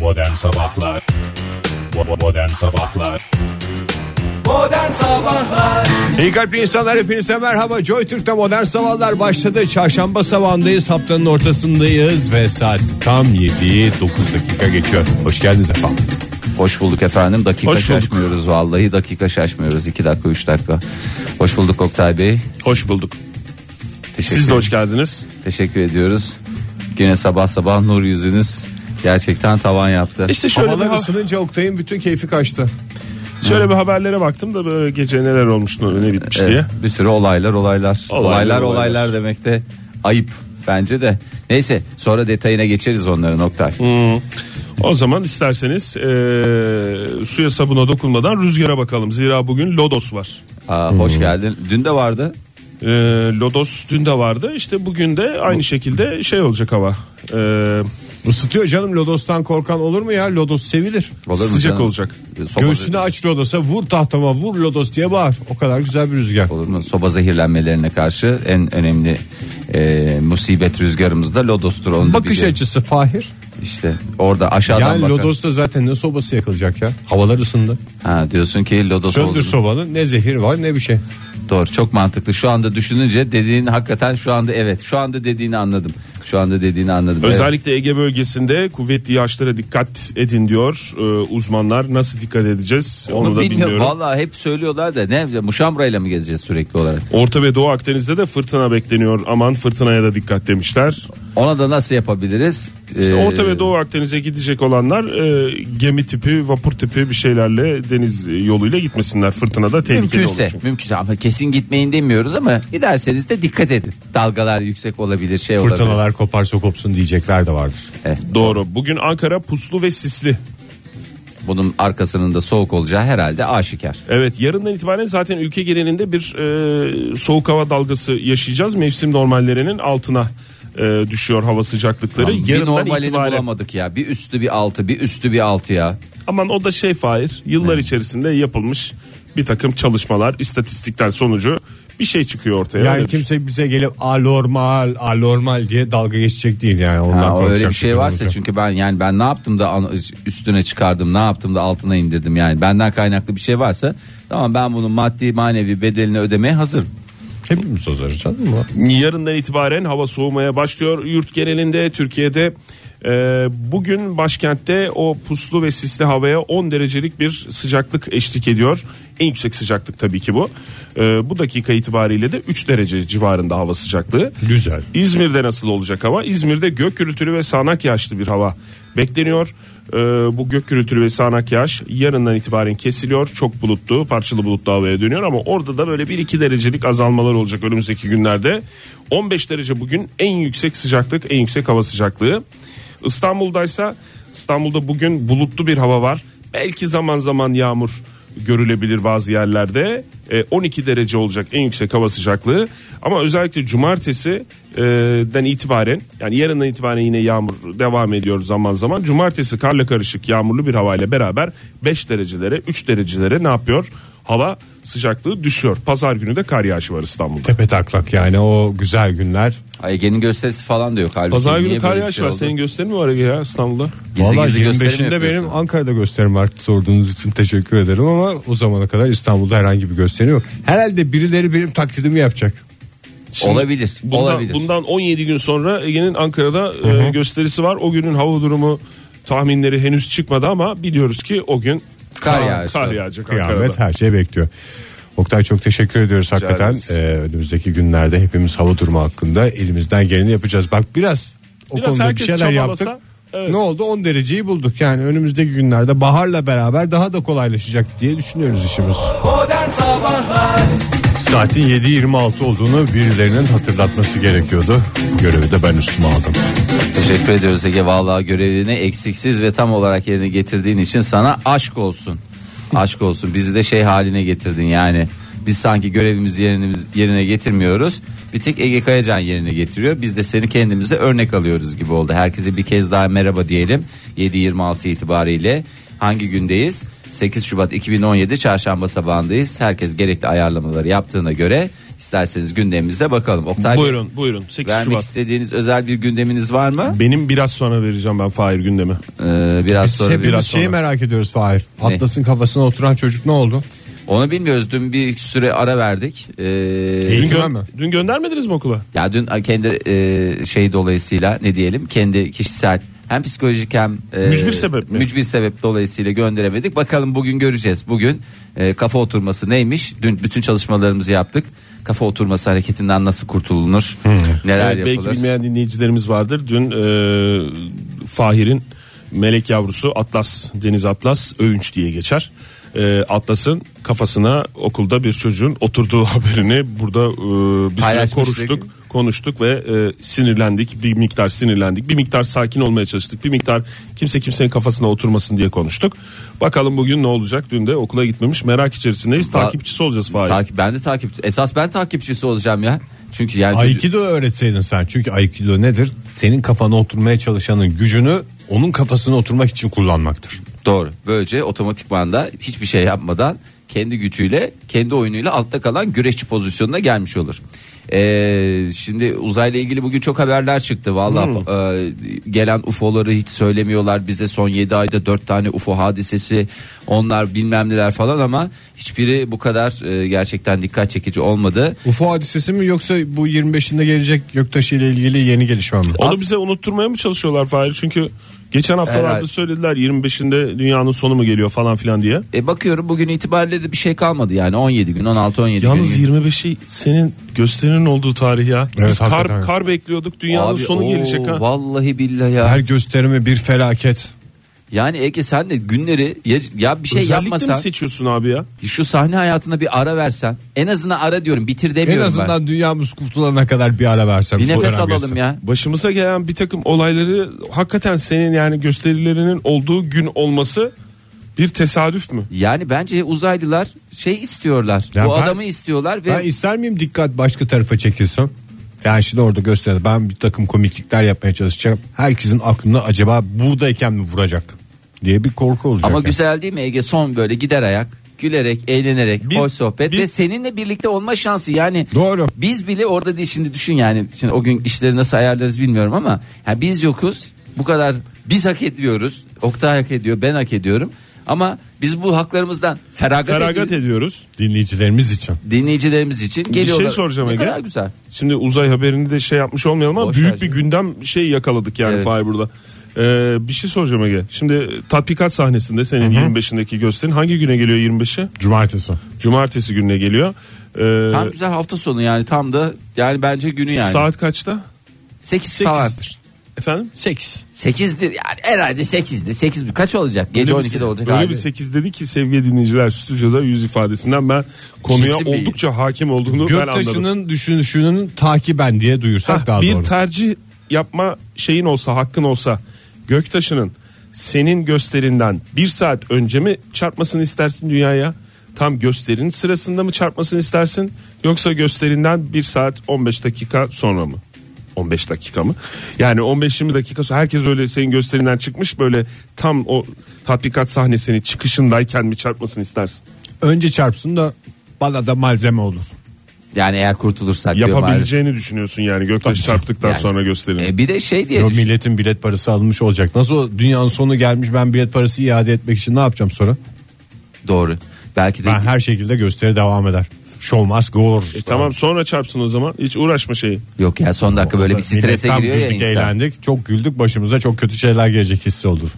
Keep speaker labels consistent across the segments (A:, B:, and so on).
A: Modern Sabahlar Bo- Modern Sabahlar
B: İyi kalpli insanlar hepinize merhaba Joy Türk'te modern sabahlar başladı Çarşamba sabahındayız haftanın ortasındayız Ve saat tam 7'yi 9 dakika geçiyor Hoş geldiniz efendim
C: Hoş bulduk efendim. Dakika
D: Hoş bulduk.
C: şaşmıyoruz vallahi. Dakika şaşmıyoruz. 2 dakika 3 dakika. Hoş bulduk Oktay Bey.
D: Hoş bulduk.
C: Teşekkür,
D: Siz de hoş geldiniz.
C: teşekkür ediyoruz. Yine sabah sabah nur yüzünüz gerçekten tavan yaptı.
D: İşte şöyle bir,
B: Havalar
D: ha-
B: ısınınca Oktay'ın bütün keyfi kaçtı
D: şöyle bir haberlere baktım da böyle gece neler olmuş ne bitmiş
C: Evet,
D: diye.
C: bir sürü olaylar olaylar. Olaylar olaylar,
D: olaylar.
C: demek de ayıp bence de. Neyse sonra detayına geçeriz onların Oktay.
D: O zaman isterseniz eee, suya sabuna dokunmadan rüzgara bakalım. Zira bugün Lodos var.
C: Aa, hoş geldin. Dün de vardı.
D: Eee, Lodos dün de vardı. İşte bugün de aynı şekilde şey olacak hava. Eee,
B: Isıtıyor canım Lodos'tan korkan olur mu ya Lodos sevilir
C: Olur mu
D: Sıcak
C: canım?
D: olacak.
C: Soba,
B: Göğsünü aç Lodos'a vur tahtama vur Lodos diye bağır O kadar güzel bir rüzgar
C: olur mu? Soba zehirlenmelerine karşı en önemli eee, musibet rüzgarımız da lodostur. Onu da
B: Bakış
C: biliyorum.
B: açısı Fahir
C: İşte orada aşağıdan
B: Yani
C: bakar.
B: Lodos'ta zaten ne sobası yakılacak ya Havalar ısındı
C: Ha, diyorsun ki lodos
B: Söndür
C: oldu.
B: sobanı ne zehir var ne bir şey
C: Doğru çok mantıklı. Şu anda düşününce dediğin hakikaten şu anda evet. Şu anda dediğini anladım. Şu anda dediğini anladım. Evet.
D: Özellikle Ege bölgesinde kuvvetli yağışlara dikkat edin diyor eee, uzmanlar. Nasıl dikkat edeceğiz onu, da
C: bilmiyorum.
D: bilmiyorum.
C: Vallahi hep söylüyorlar da ne yapacağız? Muşamra'yla mı gezeceğiz sürekli olarak?
D: Orta ve Doğu Akdeniz'de de fırtına bekleniyor. Aman fırtınaya da dikkat demişler.
C: Ona da nasıl yapabiliriz?
D: İşte
C: Ee,
D: Orta ve Doğu Akdeniz'e gidecek olanlar e, gemi tipi, vapur tipi bir şeylerle deniz yoluyla gitmesinler. Fırtınada tehlikeli olur
C: Mümkünse,
D: çünkü.
C: mümkünse ama kesin gitmeyin demiyoruz ama giderseniz de dikkat edin. Dalgalar yüksek olabilir, şey olabilir.
B: Fırtınalar koparsa kopsun diyecekler de vardır
D: Doğru. Bugün Ankara puslu ve sisli.
C: Bunun arkasının da soğuk olacağı herhalde aşikar.
D: Evet yarından itibaren zaten ülke genelinde bir e, soğuk hava dalgası yaşayacağız. Mevsim normallerinin altına e, düşüyor hava sıcaklıkları.
C: Ama bir
D: yarından
C: normalini
D: itibaren.
C: bulamadık ya. Bir üstü bir altı, bir üstü bir altı ya.
D: Aman o da şey Fahir. Yıllar içerisinde yapılmış bir takım çalışmalar, istatistikler sonucu bir şey çıkıyor ortaya.
B: Yani
D: Öyle düşün.
B: kimse bize gelip anormal anormal diye dalga geçecek değil yani. Ondan
C: Ha,
B: korkacak
C: öyle bir şey varsa
B: durumumuz yok.
C: çünkü ben yani ben ne yaptım da an- üstüne çıkardım ne yaptım da altına indirdim yani benden kaynaklı bir şey varsa tamam ben bunun maddi manevi bedelini ödemeye hazırım.
B: Hepimiz ozarız canım mı?
D: Yarından itibaren hava soğumaya başlıyor. Yurt genelinde Türkiye'de e, bugün başkentte o puslu ve sisli havaya 10 derecelik bir sıcaklık eşlik ediyor. En yüksek sıcaklık tabii ki bu. E, bu dakika itibariyle de 3 derece civarında hava sıcaklığı.
B: Güzel.
D: İzmir'de nasıl olacak hava? İzmir'de gök gürültülü ve sağanak yağışlı bir hava bekleniyor. Ee, bu gök gürültülü ve sağanak yağış yarından itibaren kesiliyor. Çok bulutlu, parçalı bulutlu havaya dönüyor ama orada da böyle 1-2 derecelik azalmalar olacak önümüzdeki günlerde. 15 derece bugün en yüksek sıcaklık, en yüksek hava sıcaklığı. İstanbul'daysa İstanbul'da bugün bulutlu bir hava var. Belki zaman zaman yağmur görülebilir bazı yerlerde. E, 12 derece olacak en yüksek hava sıcaklığı. Ama özellikle cumartesiden itibaren yani yarından itibaren yine yağmur devam ediyor zaman zaman. Cumartesi karla karışık yağmurlu bir havayla beraber 5 derecelere 3 derecelere ne yapıyor? Hava sıcaklığı düşüyor. Pazar günü de kar yağışı var İstanbul'da.
B: Tepe taklak yani o güzel günler.
C: Ay, Ege'nin gösterisi falan da yok halbuki.
D: Pazar
C: Niye
D: günü kar
C: böyle bir
D: yağışı
C: şey
D: var.
C: oldu?
D: Senin gösterin mi var Ege ya İstanbul'da?
C: Gizli
B: Valla
C: gizli gösterim
B: 25'inde
C: yapıyorsun.
B: benim Ankara'da gösterim var sorduğunuz için teşekkür ederim ama o zamana kadar İstanbul'da herhangi bir gösteri yok. Herhalde birileri benim taklidimi yapacak.
D: Şimdi
C: Olabilir,
D: Bundan,
C: olabilir.
D: bundan 17 gün sonra Ege'nin Ankara'da e, gösterisi var. O günün hava durumu tahminleri henüz çıkmadı ama biliyoruz ki o gün
C: Kar yağışı.
D: kar yağacak
B: Kıyamet
D: Ankara'da.
B: her şey bekliyor. Oktay çok teşekkür ediyoruz hakikaten.
D: ederiz.
B: Ee, önümüzdeki günlerde hepimiz hava durumu hakkında elimizden geleni yapacağız. Bak biraz o
D: Biraz
B: konuda bir
D: herkes
B: şeyler
D: çabalasa,
B: yaptık.
D: evet.
B: Ne oldu? 10 dereceyi bulduk. Yani önümüzdeki günlerde baharla beraber daha da kolaylaşacak diye düşünüyoruz işimiz. Saatin 7.26 olduğunu birilerinin hatırlatması gerekiyordu. Görevi de ben üstüme aldım.
C: Teşekkür ediyoruz Ege vallahi görevini eksiksiz ve tam olarak yerine getirdiğin için sana aşk olsun. Aşk olsun bizi de şey haline getirdin yani. Biz sanki görevimizi yerine, yerine getirmiyoruz. Bir tek Ege Kayacan yerine getiriyor. Biz de seni kendimize örnek alıyoruz gibi oldu. Herkese bir kez daha merhaba diyelim. 7.26 itibariyle hangi gündeyiz? 8 Şubat 2017 çarşamba sabahındayız. Herkes gerekli ayarlamaları yaptığına göre İsterseniz gündemimize bakalım. Oktay Bey,
D: Buyurun buyurun 8
C: vermek
D: Şubat.
C: istediğiniz özel bir gündeminiz var mı?
D: Benim biraz sonra vereceğim ben Fahir gündemi.
C: Ee, biraz
B: Biz
C: sonra bir-
B: hepimiz
D: biraz
B: şeyi
D: sonra.
B: merak ediyoruz Fahir. Atlas'ın kafasına oturan çocuk ne oldu?
C: Onu bilmiyoruz. Dün bir süre ara verdik. Ee,
D: Dün,
B: Eğitime
D: gö-
B: mi?
D: dün göndermediniz mi okula?
C: Ya dün kendi e, şey dolayısıyla ne diyelim kendi kişisel hem psikolojik hem e,
D: Mücbir sebep mi?
C: mücbir sebep dolayısıyla gönderemedik. Bakalım bugün göreceğiz. Bugün e, kafa oturması neymiş? Dün bütün çalışmalarımızı yaptık. Kafa oturması hareketinden nasıl kurtulunur? Neler
D: Hmm. Evet, belki
C: yapılır?
D: bilmeyen dinleyicilerimiz vardır. Dün e, Fahir'in melek yavrusu Atlas, Deniz Atlas Övünç diye geçer. E, Atlas'ın kafasına okulda bir çocuğun oturduğu haberini burada e, bir süre
C: Paylaşmıştık.
D: konuştuk. Konuştuk ve e, sinirlendik. Bir miktar sinirlendik. Bir miktar sakin olmaya çalıştık. Bir miktar kimse kimsenin kafasına oturmasın diye konuştuk. Bakalım bugün ne olacak? Dün de okula gitmemiş. Merak içerisindeyiz. Takipçisi olacağız Fahir.
C: Takip, ben de takip. Esas ben takipçisi olacağım ya. Çünkü yani çocuk-
B: Aikido öğretseydin sen. Çünkü Aikido nedir? Senin kafana oturmaya çalışanın gücünü onun kafasına oturmak için kullanmaktır.
C: Doğru. Böylece otomatikman da hiçbir şey yapmadan kendi gücüyle, kendi oyunuyla altta kalan güreşçi pozisyonuna gelmiş olur. Ee, şimdi uzayla ilgili bugün çok haberler çıktı. Vallahi
D: Hmm.
C: e, gelen UFO'ları hiç söylemiyorlar bize. Son 7 ayda 4 tane UFO hadisesi, onlar bilmem neler falan ama hiçbiri bu kadar e, gerçekten dikkat çekici olmadı.
B: UFO hadisesi mi yoksa bu 25'inde gelecek göktaşı ile ilgili yeni gelişme mi?
D: Onu bize unutturmaya mı çalışıyorlar Fahir? Çünkü geçen haftalarda
C: Herhalde.
D: söylediler 25'inde dünyanın sonu mu geliyor falan filan diye.
C: E bakıyorum bugün itibariyle de bir şey kalmadı yani 17 gün 16-17 gün.
D: Yalnız 25'i senin gösterinin olduğu tarih ya. Biz
B: Evet,
D: kar,
B: hakikaten.
D: kar bekliyorduk dünyanın
C: Abi,
D: sonu
C: oo,
D: gelecek ha.
C: Vallahi billahi ya.
B: Her gösterimi bir felaket.
C: Yani Ege sen de günleri ya, ya bir şey
D: Özellikle mi
C: yapmasan
D: seçiyorsun abi ya?
C: şu sahne hayatına bir ara versen en azından ara diyorum bitir
B: En
C: demiyorum
B: azından dünyamız kurtulana kadar bir ara versem.
C: ben. Bir nefes
B: program
C: alalım
B: geçsem.
C: ya.
D: Başımıza gelen bir takım olayları hakikaten senin yani gösterilerinin olduğu gün olması bir tesadüf mü?
C: Yani bence uzaylılar şey istiyorlar.
B: Ya
C: bu
B: ben-
C: adamı istiyorlar ve
B: Ben ister miyim dikkat başka tarafa çekilsem? Yani şimdi orada gösterdi. Ben bir takım komiklikler yapmaya çalışacağım. Herkesin aklına acaba buradayken mi vuracak diye bir korku olacak.
C: ama
B: yani.
C: güzel değil mi Ege son böyle gider ayak gülerek eğlenerek
D: Bir-
C: hoş sohbet
D: bir-
C: ve seninle birlikte olma şansı yani
B: Doğru.
C: biz bile orada değil şimdi düşün yani şimdi o gün işleri nasıl ayarlarız bilmiyorum ama yani biz yokuz bu kadar biz hak ediyoruz Oktay hak ediyor ben hak ediyorum ama biz bu haklarımızdan feragat, ediyoruz.
D: Feragat ediyoruz.
B: Dinleyicilerimiz için.
C: dinleyicilerimiz için
D: Bir
C: geliyorlar.
D: şey soracağım
C: ne
D: Ege.
C: kadar güzel.
D: Şimdi uzay haberini de şey yapmış olmayalım ama
C: Boş ver
D: büyük bir
C: şimdi.
D: gündem şey yakaladık yani
C: Evet.
D: Fahir burada. Ee, bir şey soracağım Ege. Şimdi tatbikat sahnesinde senin 25'indeki gösterin hangi güne geliyor 25'i?
B: Cumartesi.
D: Cumartesi gününe geliyor. Ee,
C: Tam güzel hafta sonu yani tam da yani bence günü yani.
D: Saat kaçta?
C: 8
D: sekiz.
C: falandır.
D: Efendim?
B: 8.
C: 8'dir yani herhalde 8'dir. 8 kaç olacak? Gece
D: Öyle bir-
C: 12'de olacak
D: Öyle
C: abi.
D: bir 8 dedi ki sevgili dinleyiciler stüdyoda yüz ifadesinden ben konuya
C: Kesin bir-
D: oldukça hakim olduğunu ben anladım.
B: Göktaşı'nın düşünüşünün takiben diye duyursak
D: Ha,
B: daha
D: bir
B: doğru.
D: tercih yapma şeyin olsa hakkın olsa Göktaş'ının senin gösterinden bir saat önce mi çarpmasını istersin dünyaya? Tam gösterinin sırasında mı çarpmasını istersin? Yoksa gösterinden bir saat 15 dakika sonra mı? 15 dakika mı? Yani 15-20 dakika sonra herkes öyle senin gösterinden çıkmış böyle tam o tatbikat sahnesinin çıkışındayken mi çarpmasını istersin?
B: Önce çarpsın da bana da malzeme olur.
C: Yani eğer kurtulursak diyorum abi.
D: Yapabileceğini düşünüyorsun yani Göktaş çarptıktan
C: Yani-
D: sonra gösterinin.
C: E, bir de şey diye
B: Yo,
C: düşün-
B: milletin bilet parası almış olacak. Nasıl o dünyanın sonu gelmiş ben bilet parası iade etmek için ne yapacağım sonra?
C: doğru. Belki de
B: Ben her şekilde gösteri devam eder. Show must go on.
D: E, tamam sonra çarpsın o zaman hiç uğraşma şeyi.
C: yok ya son dakika böyle bir strese
B: Milletten
C: giriyor ya
B: güldük,
C: insan.
B: eğlendik. Çok güldük başımıza çok kötü şeyler gelecek hissi olur.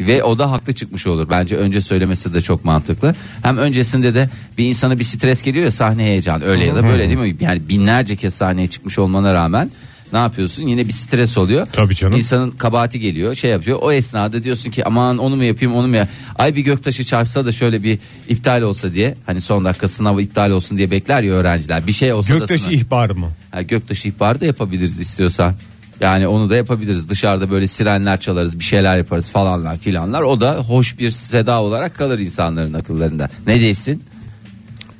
C: Ve o da haklı çıkmış olur. Bence önce söylemesi de çok mantıklı. Hem öncesinde de bir insana bir stres geliyor ya sahne heyecanı. Öyle ya da böyle değil mi? Yani binlerce kez sahneye çıkmış olmana rağmen ne yapıyorsun? Yine bir stres oluyor.
B: Tabii canım.
C: İnsanın kabahati geliyor şey yapıyor. O esnada diyorsun ki aman onu mu yapayım onu mu ya Ay bir göktaşı çarpsa da şöyle bir iptal olsa diye. Hani son dakika sınavı iptal olsun diye bekler ya öğrenciler. Bir şey olsa da
B: Göktaşı
C: sınav-
B: ihbarı mı?
C: Ha, göktaşı ihbarı da yapabiliriz istiyorsan. Yani onu da yapabiliriz. Dışarıda böyle sirenler çalarız, bir şeyler yaparız falanlar filanlar. O da hoş bir seda olarak kalır insanların akıllarında. Ne değilsin?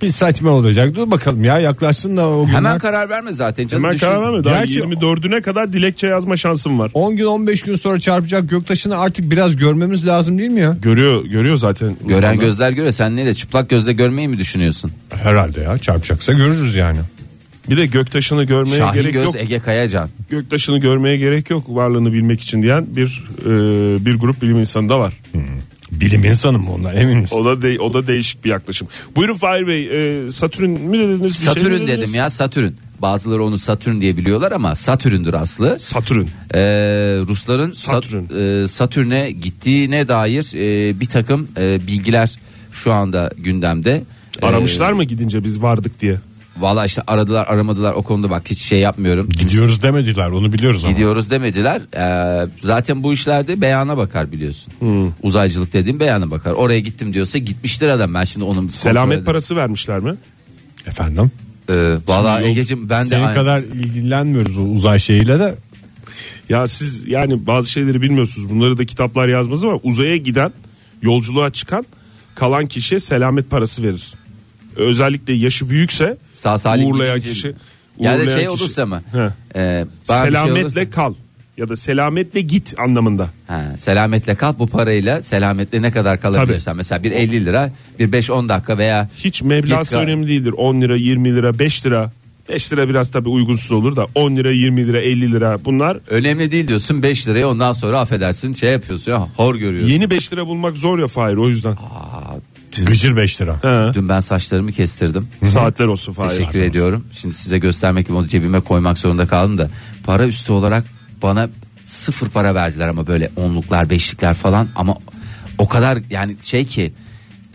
B: bir saçma olacak. Dur bakalım ya yaklaşsın da o günler.
C: Hemen karar verme zaten canım.
D: Hemen
C: Düşün.
D: karar verme. Daha
B: Gerçi-
D: 24'üne kadar dilekçe yazma şansım var.
B: 10 gün 15 gün sonra çarpacak göktaşını artık biraz görmemiz lazım değil mi ya?
D: Görüyor görüyor zaten.
C: Gören gözler göre sen neyle çıplak gözle görmeyi mi düşünüyorsun?
B: Herhalde ya çarpacaksa görürüz yani.
D: Bir de göktaşını görmeye
C: Şahin
D: gerek
C: Göz
D: yok.
C: Ege Kayacan.
D: Göktaşını görmeye gerek yok varlığını bilmek için diyen bir e, bir grup bilim insanı da var.
B: Bilim insanı mı onlar emin misin?
D: O da de- o da değişik bir yaklaşım. Buyurun Fahir Bey, e, Satürn mü dediniz? Bir şey mi
C: Satürn
D: dediniz?
C: dedim ya Satürn. Bazıları onu Satürn diye biliyorlar ama Satürn'dür aslı.
D: Satürn.
C: Ee, Rusların Sat-
D: Satürn.
C: e, Satürn'e gittiğine dair e, bir takım e, bilgiler şu anda gündemde. Ee,
D: Aramışlar mı gidince biz vardık diye?
C: Valla işte aradılar aramadılar o konuda bak hiç şey yapmıyorum.
B: Gidiyoruz demediler onu biliyoruz ama.
C: Gidiyoruz demediler. Ee, zaten bu işlerde beyana bakar biliyorsun. Uzaycılık dediğim beyana bakar. Oraya gittim diyorsa gitmiştir adam. Ben şimdi onun
D: Selamet parası vermişler mi?
B: Efendim?
C: Ee, Valla
B: Yok,
C: Ege'cim ben de
B: Senin
C: aynı-
B: kadar ilgilenmiyoruz bu uzay şeyiyle de.
D: Ya siz yani bazı şeyleri bilmiyorsunuz. Bunları da kitaplar yazmaz ama uzaya giden, yolculuğa çıkan kalan kişiye selamet parası verir. Özellikle yaşı büyükse
C: Sağ salim
D: uğurlayan
C: gidince-
D: kişi.
C: ya da
D: uğurlayan
C: şey
D: kişi-
C: olursa mı?
D: Heh.
C: Ee, bana bir şey
D: Selametle
C: olursa-
D: kal ya da selametle git anlamında.
C: Ha, selametle kal bu parayla selametle ne kadar kalabilirsen mesela bir 50 lira bir 5-10 dakika veya
D: Hiç meblası
C: Git kal.
D: önemli değildir. 10 lira, 20 lira, 5 lira. 5 lira biraz tabii uygunsuz olur da 10 lira, 20 lira, 50 lira bunlar
C: önemli değil diyorsun 5 liraya ondan sonra affedersin şey yapıyorsun ya hor görüyorsun.
D: yeni 5 lira bulmak zor ya Fahir o yüzden.
B: Gıcır 5 lira.
D: He.
C: Dün ben saçlarımı kestirdim.
D: Saatler olsun Fahir.
C: Teşekkür ediyorum. Şimdi size göstermek gibi onu cebime koymak zorunda kaldım da para üstü olarak bana sıfır para verdiler ama böyle onluklar beşlikler falan ama o kadar yani şey ki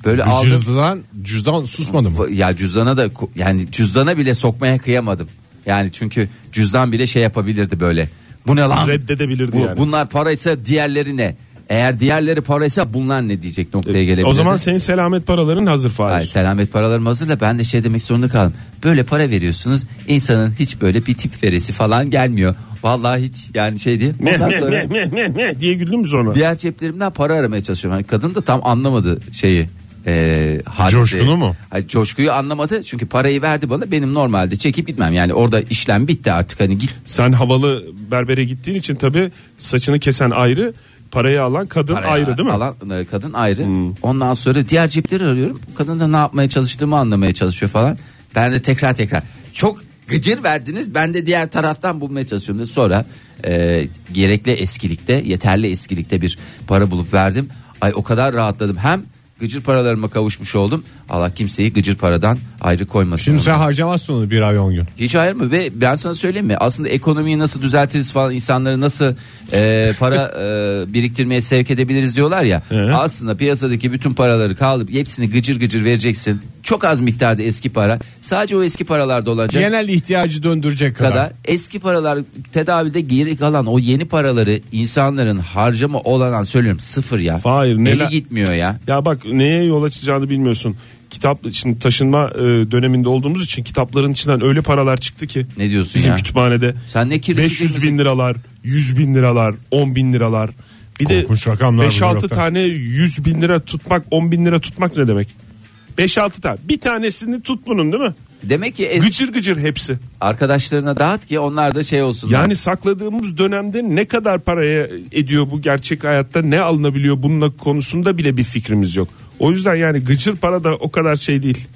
C: böyle aldım
B: Gıcırdan cüzdan susmadı mı?
C: ya cüzdana da ko- yani cüzdana bile sokmaya kıyamadım. Yani çünkü cüzdan bile şey yapabilirdi böyle. Bu ne lan?
D: Reddedebilirdi
C: Bu-
D: yani.
C: Bunlar paraysa diğerleri ne? Eğer diğerleri paraysa bunlar ne diyecek noktaya Ee, gelebilir.
D: E, O zaman senin selamet paraların hazır Fahir.
C: Ay, selamet paralarım hazır da ben de şey demek zorunda kaldım. Böyle para veriyorsunuz insanın hiç böyle bir tip veresi falan gelmiyor. Vallahi hiç yani şey diye.
D: Meh,
C: Ondan
D: meh,
C: sonra
D: meh, meh, meh, meh diye güldün mü sonra?
C: diğer ceplerimden para aramaya çalışıyorum. Hani kadın da tam anlamadı şeyi. E, hadiseyi.
B: Coşkunu mu?
C: Hayır, coşkuyu anlamadı çünkü parayı verdi bana benim normalde çekip gitmem yani orada işlem bitti artık hani git
D: Sen havalı berbere gittiğin için tabii saçını kesen ayrı, parayı alan kadın
C: Parayı
D: ayrı değil mi? Hmm.
C: Alan e, kadın ayrı. Ondan sonra diğer cepleri arıyorum. Kadın da ne yapmaya çalıştığımı anlamaya çalışıyor falan. Ben de tekrar tekrar çok gıcır verdiniz. Ben de diğer taraftan bulmaya çalışıyorum. Sonra e, gerekli eskilikte, yeterli eskilikte bir para bulup verdim. Ay o kadar rahatladım. Hem gıcır paralarıma kavuşmuş oldum. Allah kimseyi gıcır paradan ayrı koymasın.
B: Şimdi sen harcamazsın onu bir ay 10 gün.
C: Hiç hayır mı? Ve ben sana söyleyeyim mi? Aslında ekonomiyi nasıl düzeltiriz falan insanları nasıl e, para e, biriktirmeye sevk edebiliriz diyorlar ya. aslında piyasadaki bütün paraları kaldırıp hepsini gıcır gıcır vereceksin. Çok az miktarda eski para. Sadece o eski paralarda olacak
B: Genel ihtiyacı döndürecek kadar.
C: Şey- kadar eski paralar tedavide geri kalan o yeni paraları insanların harcama olanan söylüyorum sıfır ya.
D: Hayır, neler-
C: Eli gitmiyor ya.
D: Ya bak neye yol açacağını bilmiyorsun. Kitap şimdi taşınma e, döneminde olduğumuz için kitapların içinden öyle paralar çıktı ki.
C: Ne diyorsun
D: Bizim
C: ya?
D: kütüphanede.
C: Sen ne kirli
D: 500
C: kirli-
D: bin liralar, 100 bin liralar, 10 bin liralar. Bir de
B: Korkunç rakamlar bu
D: 5-6
B: rakamlar.
D: tane 100 bin lira tutmak, 10 bin lira tutmak ne demek? 5-6 tane. Bir tanesini tut bunun değil mi?
C: Demek ki es-
D: Gıcır gıcır hepsi.
C: arkadaşlarına dağıt ki onlar da şey olsunlar.
D: Yani sakladığımız dönemde ne kadar paraya ediyor bu gerçek hayatta ne alınabiliyor bununla konusunda bile bir fikrimiz yok. O yüzden yani gıcır para da o kadar şey değil.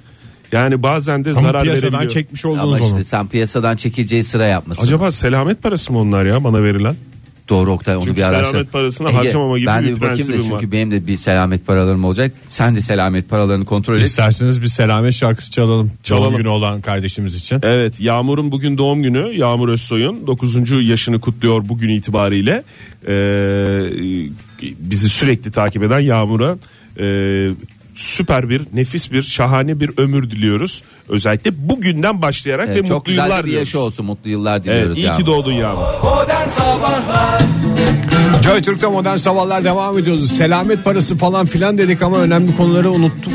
D: Yani bazen de
B: Ama
D: zarar
B: piyasadan
D: verebiliyor.
B: çekmiş
C: ama
B: olduğunuz
C: işte
B: onu.
C: sen piyasadan çekileceği sıra yapmışsın.
D: Acaba selamet parası mı onlar ya bana verilen?
C: Doğru Oktay onu
D: Çünkü
C: bir araştır.
D: selamet parasını
C: Ege,
D: harcamama gibi
C: ben de
D: bir
C: bir bakayım da
D: prensibim
C: çünkü
D: var.
C: benim de bir selamet paralarım olacak. Sen de selamet paralarını kontrol et.
B: İsterseniz bir selamet şarkısı çalalım. Çalalım.
D: Çalalım.
B: Doğum günü olan kardeşimiz için.
D: Evet Yağmur'un bugün doğum günü. Yağmur Özsoy'un 9. yaşını kutluyor bugün itibariyle. Ee, bizi sürekli takip eden Yağmur'a e, süper bir, nefis bir, şahane bir ömür diliyoruz. Özellikle bugünden başlayarak
C: Ee,
D: ve
C: çok
D: mutlu
C: güzel de
D: yıllar
C: bir
D: diliyoruz.
C: yaşı olsun. Mutlu yıllar diliyoruz.
D: Evet, iyi
C: Yağmur.
D: ki doğdun Yağmur.
B: Joy Türk'te modern sabahlar devam ediyoruz. Selamet parası falan filan dedik ama önemli konuları unuttuk.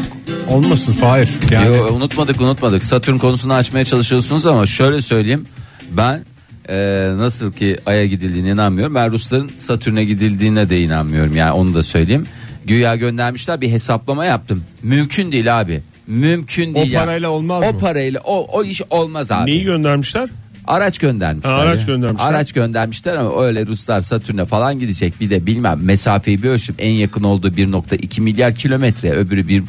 B: Olmasın Fahir. Yani
C: Yo, unutmadık unutmadık. Satürn konusunu açmaya çalışıyorsunuz ama şöyle söyleyeyim. Ben e, nasıl ki Ay'a gidildiğine inanmıyorum. Ben Rusların Satürn'e gidildiğine de inanmıyorum. Yani onu da söyleyeyim. Güya göndermişler bir hesaplama yaptım. Mümkün değil abi. mümkün değil. ya.
B: parayla olmaz
C: O
B: mı?
C: parayla o, o iş olmaz abi.
D: Neyi göndermişler?
C: Araç göndermişler.
D: Ha, araç
C: ya.
D: göndermişler.
C: Araç göndermişler ama öyle Ruslar Satürn'e falan gidecek. Bir de bilmem mesafeyi bir ölçüp en yakın olduğu 1.2 milyar kilometre öbürü 1.5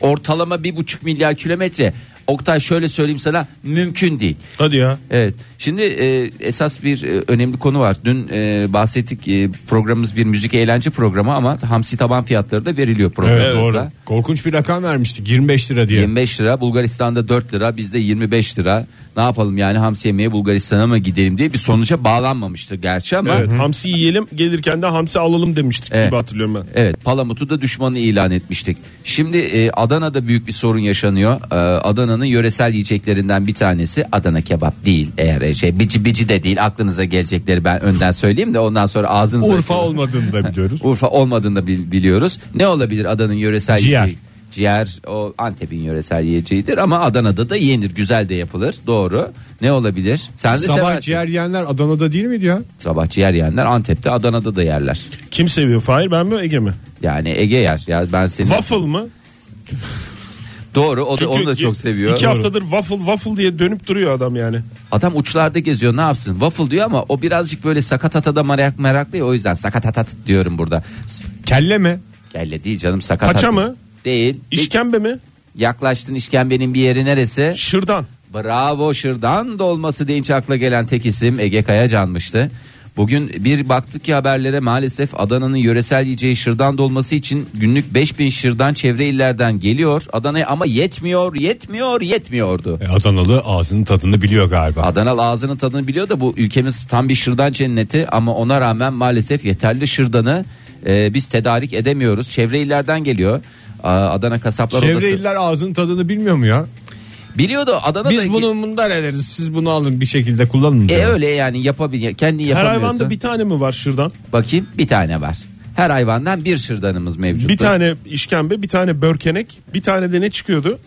C: ortalama 1.5 milyar kilometre. Oktay şöyle söyleyeyim sana mümkün değil.
D: Hadi ya.
C: Evet. Şimdi e, esas bir e, önemli konu var. Dün e, bahsettik e, programımız bir müzik eğlence programı ama hamsi taban fiyatları da veriliyor programımızda.
B: Evet, doğru. Korkunç bir rakam vermiştik 25 lira diye.
C: 25 lira Bulgaristan'da 4 lira bizde 25 lira ne yapalım yani hamsi yemeye Bulgaristan'a mı gidelim diye bir sonuca bağlanmamıştı gerçi ama
D: Evet, hamsi yiyelim gelirken de hamsi alalım demiştik
C: Evet.
D: gibi hatırlıyorum ben.
C: Evet Palamut'u da düşmanı ilan etmiştik. Şimdi e, Adana'da büyük bir sorun yaşanıyor. E, Adana'nın yöresel yiyeceklerinden bir tanesi Adana kebap değil. Eğer e, şey bici bici de değil aklınıza gelecekleri ben önden söyleyeyim de ondan sonra ağzınıza...
B: Urfa olmadığını da biliyoruz.
C: Urfa olmadığını da bil- biliyoruz. Ne olabilir Adana'nın yöresel
B: Ciğer.
C: yiyeceği? Ciğer o Antep'in yöresel yiyeceğidir ama Adana'da da yenir güzel de yapılır doğru. Ne olabilir? Sen de
B: Sabah
C: seversin.
B: ciğer yiyenler Adana'da değil miydi ya?
C: Sabah ciğer yiyenler Antep'te Adana'da da yerler.
D: Kim seviyor Fahir ben mi Ege mi?
C: Yani Ege yer. Ya ben seni
D: Waffle mı?
C: doğru o da,
D: Çünkü
C: onu da çok
D: iki-
C: seviyor.
D: İki haftadır waffle waffle diye dönüp duruyor adam yani.
C: Adam uçlarda geziyor ne yapsın waffle diyor ama o birazcık böyle sakatata da merak, meraklı ya o yüzden sakatatat diyorum burada. S-
B: Kelle mi?
C: Kelle değil canım sakatat.
D: Paça mı?
C: Değil.
D: İşkembe mi?
C: Yaklaştın işkembenin bir yeri neresi?
D: Şırdan.
C: Bravo şırdan dolması deyince akla gelen tek isim Ege Kayacan'mıştı. Bugün bir baktık ki haberlere maalesef Adana'nın yöresel yiyeceği şırdan dolması için günlük 5000 şırdan çevre illerden geliyor. Adana'ya ama yetmiyor, yetmiyor, yetmiyordu.
B: E, Adanalı ağzının tadını biliyor galiba.
C: Adanalı ağzının tadını biliyor da bu ülkemiz tam bir şırdan cenneti ama ona rağmen maalesef yeterli şırdanı e, biz tedarik edemiyoruz. Çevre illerden geliyor. Aa, Adana Kasaplar Odası.
B: Çevre iller ağzının tadını bilmiyor mu ya?
C: Biliyordu Adana'da.
B: Biz bunu bundan ederiz siz bunu alın bir şekilde kullanın.
C: e
B: diyor.
C: öyle yani yapabilir kendi
D: Her
C: yapamıyorsa.
D: hayvanda bir tane mi var şırdan?
C: Bakayım bir tane var. Her hayvandan bir şırdanımız mevcut.
D: Bir tane işkembe, bir tane börkenek, bir tane de ne çıkıyordu?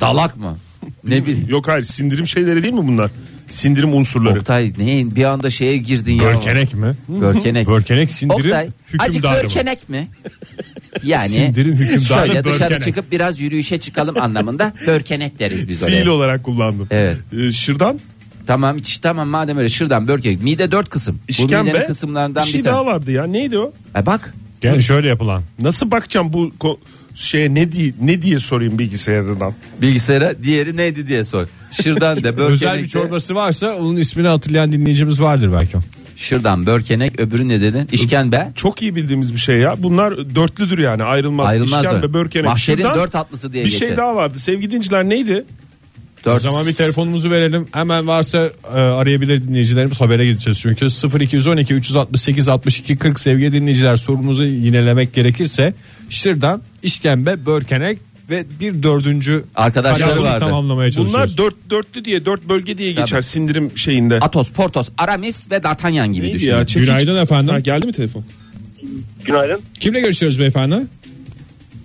C: dalak mı? ne bileyim.
D: Yok hayır sindirim şeyleri değil mi bunlar? Sindirim unsurları.
C: Oktay neyin bir anda şeye girdin ya.
B: Börkenek mi?
C: Börkenek.
B: Börkenek sindirim
C: Oktay acık
B: hükümdarı mı?
C: börkenek mi? Yani
B: Sindirin hükümdarı
C: şöyle dışarı
B: börkenek.
C: çıkıp biraz yürüyüşe çıkalım anlamında börkenek deriz biz oraya.
D: Fiil olarak kullandım.
C: Evet.
D: Ee, şırdan,
C: Tamam hiç tamam madem öyle şırdan börkenek mide dört kısım. Bu
D: işkembe.
C: midenin kısımlarından
D: bir şey
C: bir tane.
D: daha vardı ya. Neydi o?
C: E bak
B: Yani şöyle yapılan.
D: Nasıl bakacağım bu ko- şeye ne diye ne diye sorayım bilgisayardan.
C: bilgisayara diğeri neydi diye sor. Şırdan da börkenek
B: Özel bir
C: de-
B: çorbası varsa onun ismini hatırlayan dinleyicimiz vardır belki.
C: Şırdan börkenek öbürü ne dedin? İşkembe.
D: Çok iyi bildiğimiz bir şey ya. Bunlar dörtlüdür yani ayrılmaz.
C: Ayrılmaz
D: İşkembe,
C: öyle.
D: börkenek,
C: Mahşerin
D: şırdan.
C: dört atlısı diye
D: Bir
C: geçer.
D: şey daha vardı. Sevgili dinciler neydi?
B: O
C: Dört.
B: zaman bir telefonumuzu verelim. Hemen varsa e, arayabilir dinleyicilerimiz habere gideceğiz. Çünkü 0212 368 62 40 sevgili dinleyiciler sorumuzu yinelemek gerekirse şırdan, işkembe, börkenek ve bir dördüncü
C: Arkadaşları
B: kararını
C: vardı.
B: tamamlamaya çalışıyoruz.
D: Bunlar dört dörtlü diye dört bölge diye geçer
C: Tabii.
D: sindirim şeyinde.
C: Atos, Portos, Aramis ve D'Artagnan gibi
D: Neydi
C: düşünün.
D: ya? Çekiç-
B: Günaydın efendim.
D: Ha, geldi mi telefon?
E: Günaydın.
B: Kimle görüşüyoruz beyefendi?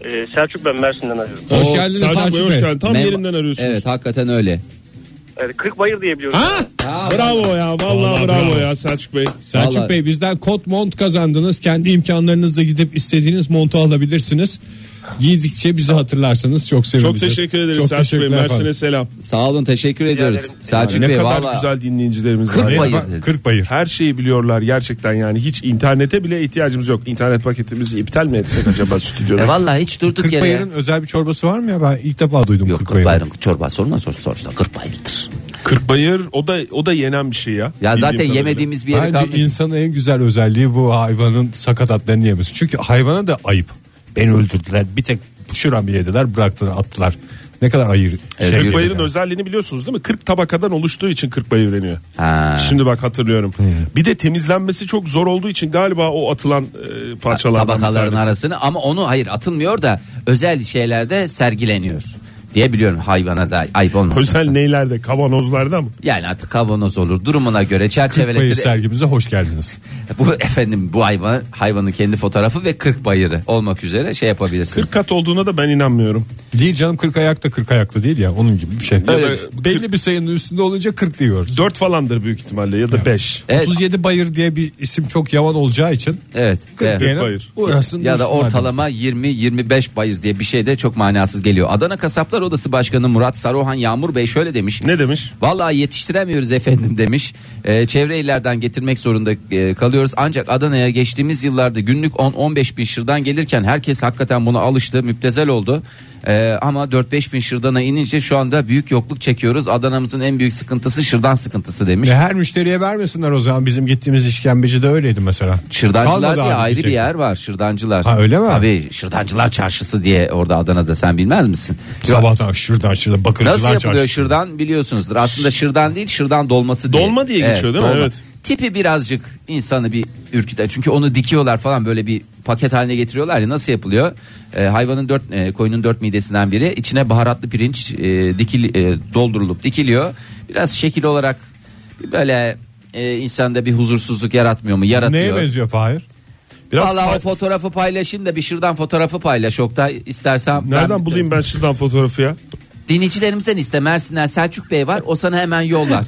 E: Ee, Selçuk ben Mersin'den arıyorum.
B: Hoş
D: Oo,
B: geldiniz
D: Selçuk
B: Selçuk
D: Bey,
B: Bey.
D: Hoş geldin. Tam
C: Mem-
D: yerinden arıyorsunuz.
C: Evet hakikaten öyle.
E: Yani Kırkbayır diye biliyorum.
B: Ha?
D: Bravo ya. Vallahi,
B: Vallahi
D: bravo,
B: bravo.
D: ya Selçuk Bey.
B: Selçuk
C: Vallahi.
B: Bey bizden kot mont kazandınız. Kendi imkanlarınızla gidip istediğiniz montu alabilirsiniz. Giydikçe bizi hatırlarsanız çok
D: Çok
B: seviniriz.
D: teşekkür ederiz
B: Çok
D: Selçuk Bey.
B: teşekkürler efendim.
D: Mersin'e selam.
C: Sağ olun teşekkür ediyoruz.
E: ederim.
C: Selçuk
D: ne
C: Bey
D: kadar
C: valla.
D: güzel dinleyicilerimiz var.
C: Kırk
D: ya.
C: bayır.
B: Bak, Kırkbayır.
D: Her şeyi biliyorlar gerçekten yani. Hiç internete bile ihtiyacımız yok. İnternet paketimizi iptal mi etsek acaba stüdyoda?
C: E valla hiç durduk yere. ya.
B: Kırkbayır'ın özel bir çorbası var mı ya? Ben ilk defa duydum
C: Yok
B: Kırkbayır'ı.
C: Kırkbayır'ın çorbası olmaz sonuçta Kırkbayır'dır.
D: Kırkbayır o da o da yenen bir şey ya.
C: Ya
D: Bildiğim
C: zaten
D: kadarıyla.
C: yemediğimiz bir yere
B: Bence
C: kaldı.
B: insanın en güzel özelliği bu hayvanın sakatatlarını yemesi. Çünkü hayvana da ayıp. Beni öldürdüler. Bir tek şuramı yediler bıraktılar attılar. Ne kadar ayır. şey
D: Kırkbayır'ın
B: yani.
D: özelliğini biliyorsunuz değil mi? 40 tabakadan oluştuğu için Kırkbayır deniyor.
C: Ha.
D: Şimdi bak hatırlıyorum. Bir de temizlenmesi çok zor olduğu için galiba o atılan e, parçalardan bir
C: Tabakaların
D: tanesi.
C: arasını ama onu hayır atılmıyor da özel şeylerde sergileniyor. diye biliyorum hayvana da ayıp olmasın.
D: Özel neylerde kavanozlarda mı?
C: Yani artık kavanoz olur durumuna göre
B: Bayır
C: çerçeveletir.
B: sergimize hoş geldiniz.
C: E, Bu efendim bu hayvan hayvanın kendi fotoğrafı ve 40 bayırı olmak üzere şey yapabilirsiniz.
D: 40 kat olduğuna da ben inanmıyorum.
B: Değil canım 40 ayakta 40 ayakta değil ya onun gibi bir şey.
C: Evet.
B: Ya da Belli bir sayının üstünde olunca 40 diyoruz.
D: 4 falandır büyük ihtimalle ya da 5.
C: Evet,
B: 37 bayır diye bir isim çok yavan olacağı için
C: evet,
B: 40
C: evet.
B: diyelim.
D: bayır.
B: Uğraşsın
C: Ya da
B: dursun
C: ortalama 20-25 bayır diye bir şey de çok manasız geliyor. Adana Kasaplar Odası Başkanı Murat Saruhan Yağmur Bey şöyle demiş.
D: Ne demiş?
C: Vallahi yetiştiremiyoruz efendim demiş. Ee, çevre illerden getirmek zorunda e, kalıyoruz. Ancak Adana'ya geçtiğimiz yıllarda günlük 10-15 bin şırdan gelirken herkes hakikaten buna alıştı, müptezel oldu. Ee, ama 4-5 bin şırdana inince şu anda büyük yokluk çekiyoruz. Adana'mızın en büyük sıkıntısı şırdan sıkıntısı demiş.
B: Ve her müşteriye vermesinler o zaman bizim gittiğimiz işkembeci de öyleydi mesela.
C: Şırdancılar
B: Kalmadı
C: diye
B: abi
C: ayrı
B: diyecek.
C: bir yer var. Şırdancılar.
B: Ha, öyle mi?
C: Tabii Şırdancılar Çarşısı diye orada Adana'da sen bilmez misin?
B: Sabahtan şırdan şırdan bakırcılar
C: Nasıl yapılıyor
B: çarşısı.
C: şırdan biliyorsunuzdur. Aslında şırdan değil şırdan dolması diye.
D: Dolma diye geçiyor değil mi? Evet.
C: Tipi birazcık insanı bir ürküter. Çünkü onu dikiyorlar falan böyle bir paket haline getiriyorlar ya nasıl yapılıyor? Ee, hayvanın dört e, koyunun dört midesinden biri içine baharatlı pirinç e, dikil e, doldurulup dikiliyor. Biraz şekil olarak böyle e, insanda bir huzursuzluk yaratmıyor mu? Yaratıyor.
B: Neye benziyor Fahir?
D: Biraz
C: Valla o fotoğrafı paylaşayım da bir şırdan fotoğrafı paylaş Oktay istersen.
D: Nereden bulayım ben şuradan fotoğrafı ya?
C: Dinleyicilerimizden iste Mersin'den Selçuk Bey var o sana hemen yollar.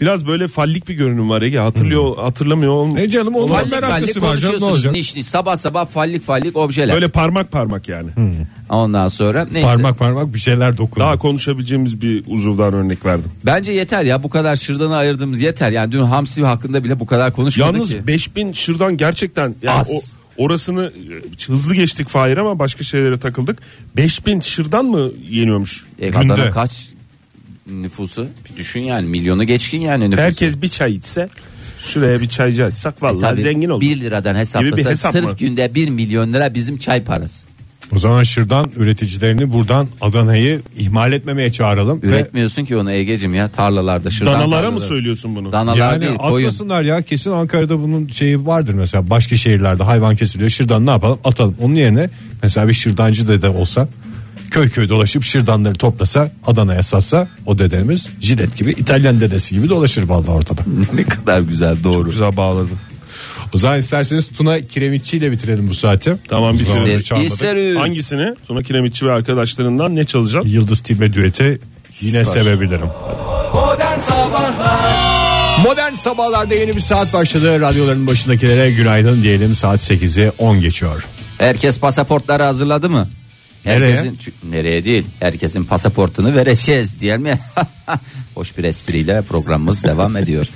D: Biraz böyle fallik bir görünüm var Ege. Hatırlıyor,
C: Hmm.
D: hatırlamıyor. olm-
B: Ne canım onun
C: Fallik
B: meraklısı var canım
C: fallik
B: ne
C: konuşuyorsunuz
B: olacak?
C: niş niş sabah sabah fallik fallik objeler.
D: Böyle parmak parmak yani.
C: Hmm. Ondan sonra neyse.
B: Parmak parmak bir şeyler dokun.
D: Daha konuşabileceğimiz bir uzuvdan örnek verdim.
C: Bence yeter ya bu kadar şırdanı ayırdığımız yeter. Yani dün hamsi hakkında bile bu kadar konuşmadık
D: Yalnız
C: ki.
D: 5000 şırdan gerçekten yani
C: Az.
D: o, orasını e, hızlı geçtik Fahir ama başka şeylere takıldık. 5000 şırdan mı yeniyormuş?
C: E,
B: günde.
C: Adana kaç nüfusu? Bir düşün yani milyonu geçkin yani nüfusu.
D: Herkes bir çay içse şuraya bir çaycı açsak vallahi
C: E, Tabii
D: zengin olur.
C: 1 liradan hesaplasak
D: Gibi bir hesap
C: sırf
D: mı?
C: günde 1 milyon lira bizim çay parası.
B: O zaman şırdan üreticilerini buradan Adana'yı ihmal etmemeye çağıralım. Ve
C: Üretmiyorsun ki onu Ege'cim ya tarlalarda şırdan
D: Danalara mı
C: tarlaları.
D: söylüyorsun bunu?
C: Danalar
B: yani
C: değil koyun.
B: atmasınlar ya kesin Ankara'da bunun şeyi vardır mesela başka şehirlerde hayvan kesiliyor şırdan ne yapalım atalım onun yerine mesela bir şırdancı dede olsa köy köy dolaşıp şırdanları toplasa Adana'ya satsa o dedemiz jilet gibi İtalyan dedesi gibi dolaşır vallahi ortada.
C: ne kadar güzel doğru.
D: Güzel bağladın.
B: O zaman isterseniz Tuna Kiremitçi ile bitirelim bu saati.
D: Tamam,
B: Bu zamandır
C: İster-
B: çalmadık.
C: isteriz.
D: Hangisini? Tuna Kiremitçi ve arkadaşlarından ne çalacağım?
B: Yıldız Tilbe düeti yine sevebilirim. Modern Sabahlar'da yeni bir saat başladı. Radyoların başındakilere günaydın diyelim. Saat 8'i 10 geçiyor.
C: Herkes pasaportları hazırladı mı?
B: Nereye?
C: Herkesin, Çünkü- nereye değil. Herkesin pasaportunu vereceğiz diyelim mi? Hoş bir espriyle programımız devam ediyor.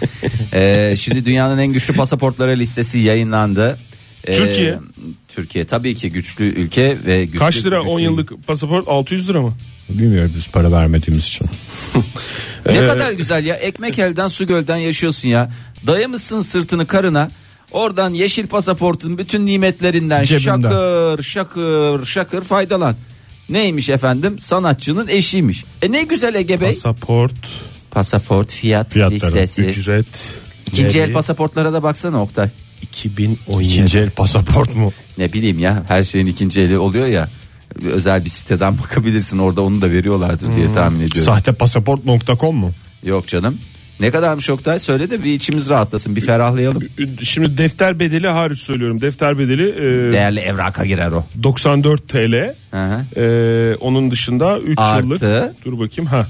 C: Ee, şimdi dünyanın en güçlü pasaportları listesi yayınlandı. Ee,
D: Türkiye.
C: Türkiye tabii ki güçlü ülke ve güçlü
D: Kaç lira 10
C: güçlü-
D: yıllık pasaport 600 lira mı?
B: Bilmiyorum biz para vermediğimiz için.
C: Ne kadar güzel ya. Ekmek elden su gölden yaşıyorsun ya. Dayamışsın sırtını karına. Oradan yeşil pasaportun bütün nimetlerinden
B: Cebinden.
C: şakır şakır şakır faydalan. Neymiş efendim? Sanatçının eşiymiş. E ne güzel Ege Bey.
D: Pasaport,
C: Pasaport fiyat
B: Fiyatları,
C: listesi.
D: ücret,
C: İkinci
D: vergi,
C: el pasaportlara da baksana Oktay.
D: 2017.
B: İkinci el pasaport mu?
C: Ne bileyim ya her şeyin ikinci eli oluyor ya. Bir Özel bir siteden bakabilirsin orada onu da veriyorlardır diye tahmin ediyorum.
B: Sahte pasaport.com mu?
C: Yok canım. Ne kadarmış Oktay söyle de bir içimiz rahatlasın bir ferahlayalım.
D: Şimdi defter bedeli hariç söylüyorum. Defter bedeli e,
C: Değerli evraka girer o.
D: 94 TL.
C: Hı hı.
D: E, onun dışında 3
C: Artı.
D: yıllık. Dur bakayım ha.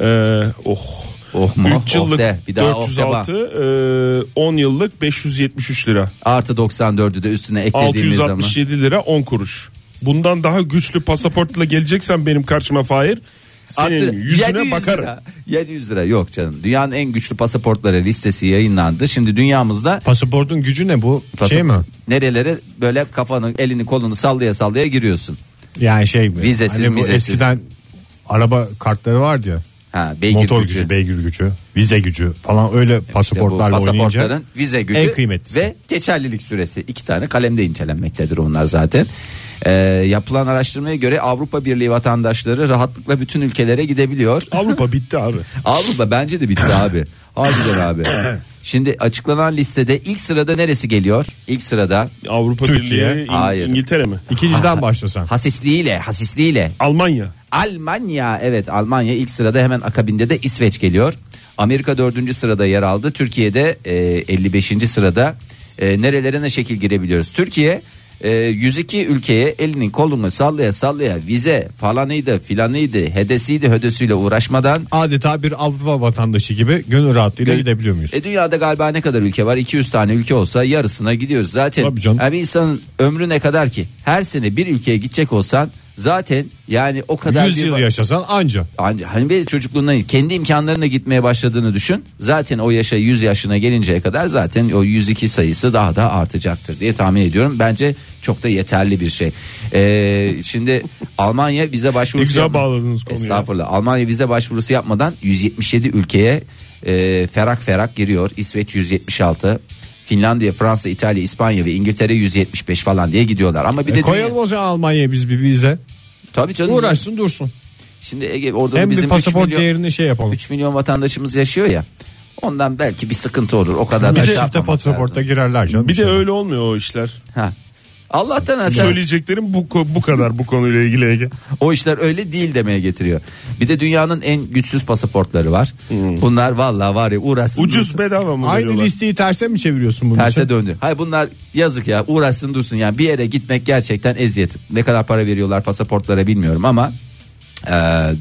D: E, oh.
C: Oh mu?
D: 3
C: Oh
D: yıllık
C: de. Bir daha oh de bak.
D: 406, e, 10 yıllık 573 lira.
C: Artı 94'ü de üstüne eklediğimiz zaman.
D: 667 lira 10 kuruş. Bundan daha güçlü pasaportla geleceksen benim karşıma Fahir senin
C: Artı
D: yüzüne
C: 700
D: bakarım.
C: Lira. 700 lira yok canım. Dünyanın en güçlü pasaportları listesi yayınlandı. Şimdi dünyamızda
B: Pasaportun gücü ne bu?
C: pasap-
B: Şey mi?
C: nerelere böyle kafanı elini kolunu sallaya sallaya giriyorsun.
B: Yani şey mi?
C: Vizesiz,
B: Hani bu
C: vizesiz.
B: eskiden araba kartları vardı ya.
C: Ha, beygir
B: motor
C: gücü.
B: gücü. E, beygir gücü, vize gücü falan öyle
C: İşte bu
B: pasaportlarla oynayınca.
C: pasaportların vize gücü
B: en kıymetlisi.
C: ve geçerlilik süresi iki tane kalemde incelenmektedir onlar zaten. Ee, yapılan araştırmaya göre Avrupa Birliği vatandaşları rahatlıkla bütün ülkelere gidebiliyor.
D: Avrupa bitti abi.
C: Avrupa bence de bitti abi. Harbiden abi. Şimdi açıklanan listede ilk sırada neresi geliyor? İlk sırada
D: Avrupa
B: Türkiye,
D: Birliği, İng-
C: hayır.
D: İngiltere mi?
B: İkinciden başlasan.
C: hasisliğiyle, hasisliğiyle
D: Almanya.
C: Almanya evet Almanya ilk sırada hemen akabinde de İsveç geliyor. Amerika dördüncü sırada yer aldı. Türkiye'de e, 55. sırada e, nerelere ne şekil girebiliyoruz? Türkiye e, 102 ülkeye elinin kolunu sallaya sallaya vize falanıydı filanıydı hedesiydi hödesüyle uğraşmadan
B: Adeta bir Avrupa vatandaşı gibi gönül rahatlığıyla gidebiliyor muyuz?
C: e dünyada galiba ne kadar ülke var? 200 tane ülke olsa yarısına gidiyoruz zaten.
B: Tabii canım.
C: Yani bir insanın ömrü ne kadar ki? Her sene bir ülkeye gidecek olsan zaten yani o kadar
B: 100
C: bir-
B: yıl yaşasan anca. E,
C: Anca- hani bir çocukluğundan kendi imkanlarına gitmeye başladığını düşün. Zaten o yaşa 100 yaşına gelinceye kadar zaten o 102 sayısı daha da artacaktır diye tahmin ediyorum. Bence çok da yeterli bir şey. Ee, şimdi Almanya vize başvurusu
D: Ne güzel
C: yapma-
D: bağladınız konuyu.
C: Estağfurullah. Almanya vize başvurusu yapmadan 177 ülkeye e, ferak ferak giriyor. İsveç 176. Finlandiya, Fransa, İtalya, İspanya ve İngiltere 175 falan diye gidiyorlar. Ama bir de
B: E, koyalım
C: dünya-
B: o zaman Almanya'ya biz bir vize.
C: Tabii canım.
B: Uğraşsın dursun.
C: Şimdi Ege orada
B: Hem
C: bizim
B: bir
C: üç
B: pasaport
C: milyon-
B: değerini şey yapalım.
C: 3 milyon vatandaşımız yaşıyor ya. Ondan belki bir sıkıntı olur. O kadar da
B: Bir de
C: şey
B: çifte
C: yapmamak
B: pasaporta
C: lazım.
B: girerler canım.
D: Bir de
B: İnşallah.
D: öyle olmuyor o işler.
C: Ha. Allah'tan ha sen-
D: Söyleyeceklerim bu ko- bu kadar bu konuyla ilgili Ege.
C: o işler öyle değil demeye getiriyor. Bir de dünyanın en güçsüz pasaportları var. Bunlar vallahi var ya uğraşsın.
D: Ucuz
C: dursun.
D: bedava mı
B: Aynı
D: veriyorlar?
B: listeyi terse mi çeviriyorsun bunun
C: Terse
B: için?
C: döndü. Hayır bunlar yazık ya uğraşsın dursun yani bir yere gitmek gerçekten eziyet. Ne kadar para veriyorlar pasaportlara bilmiyorum ama e,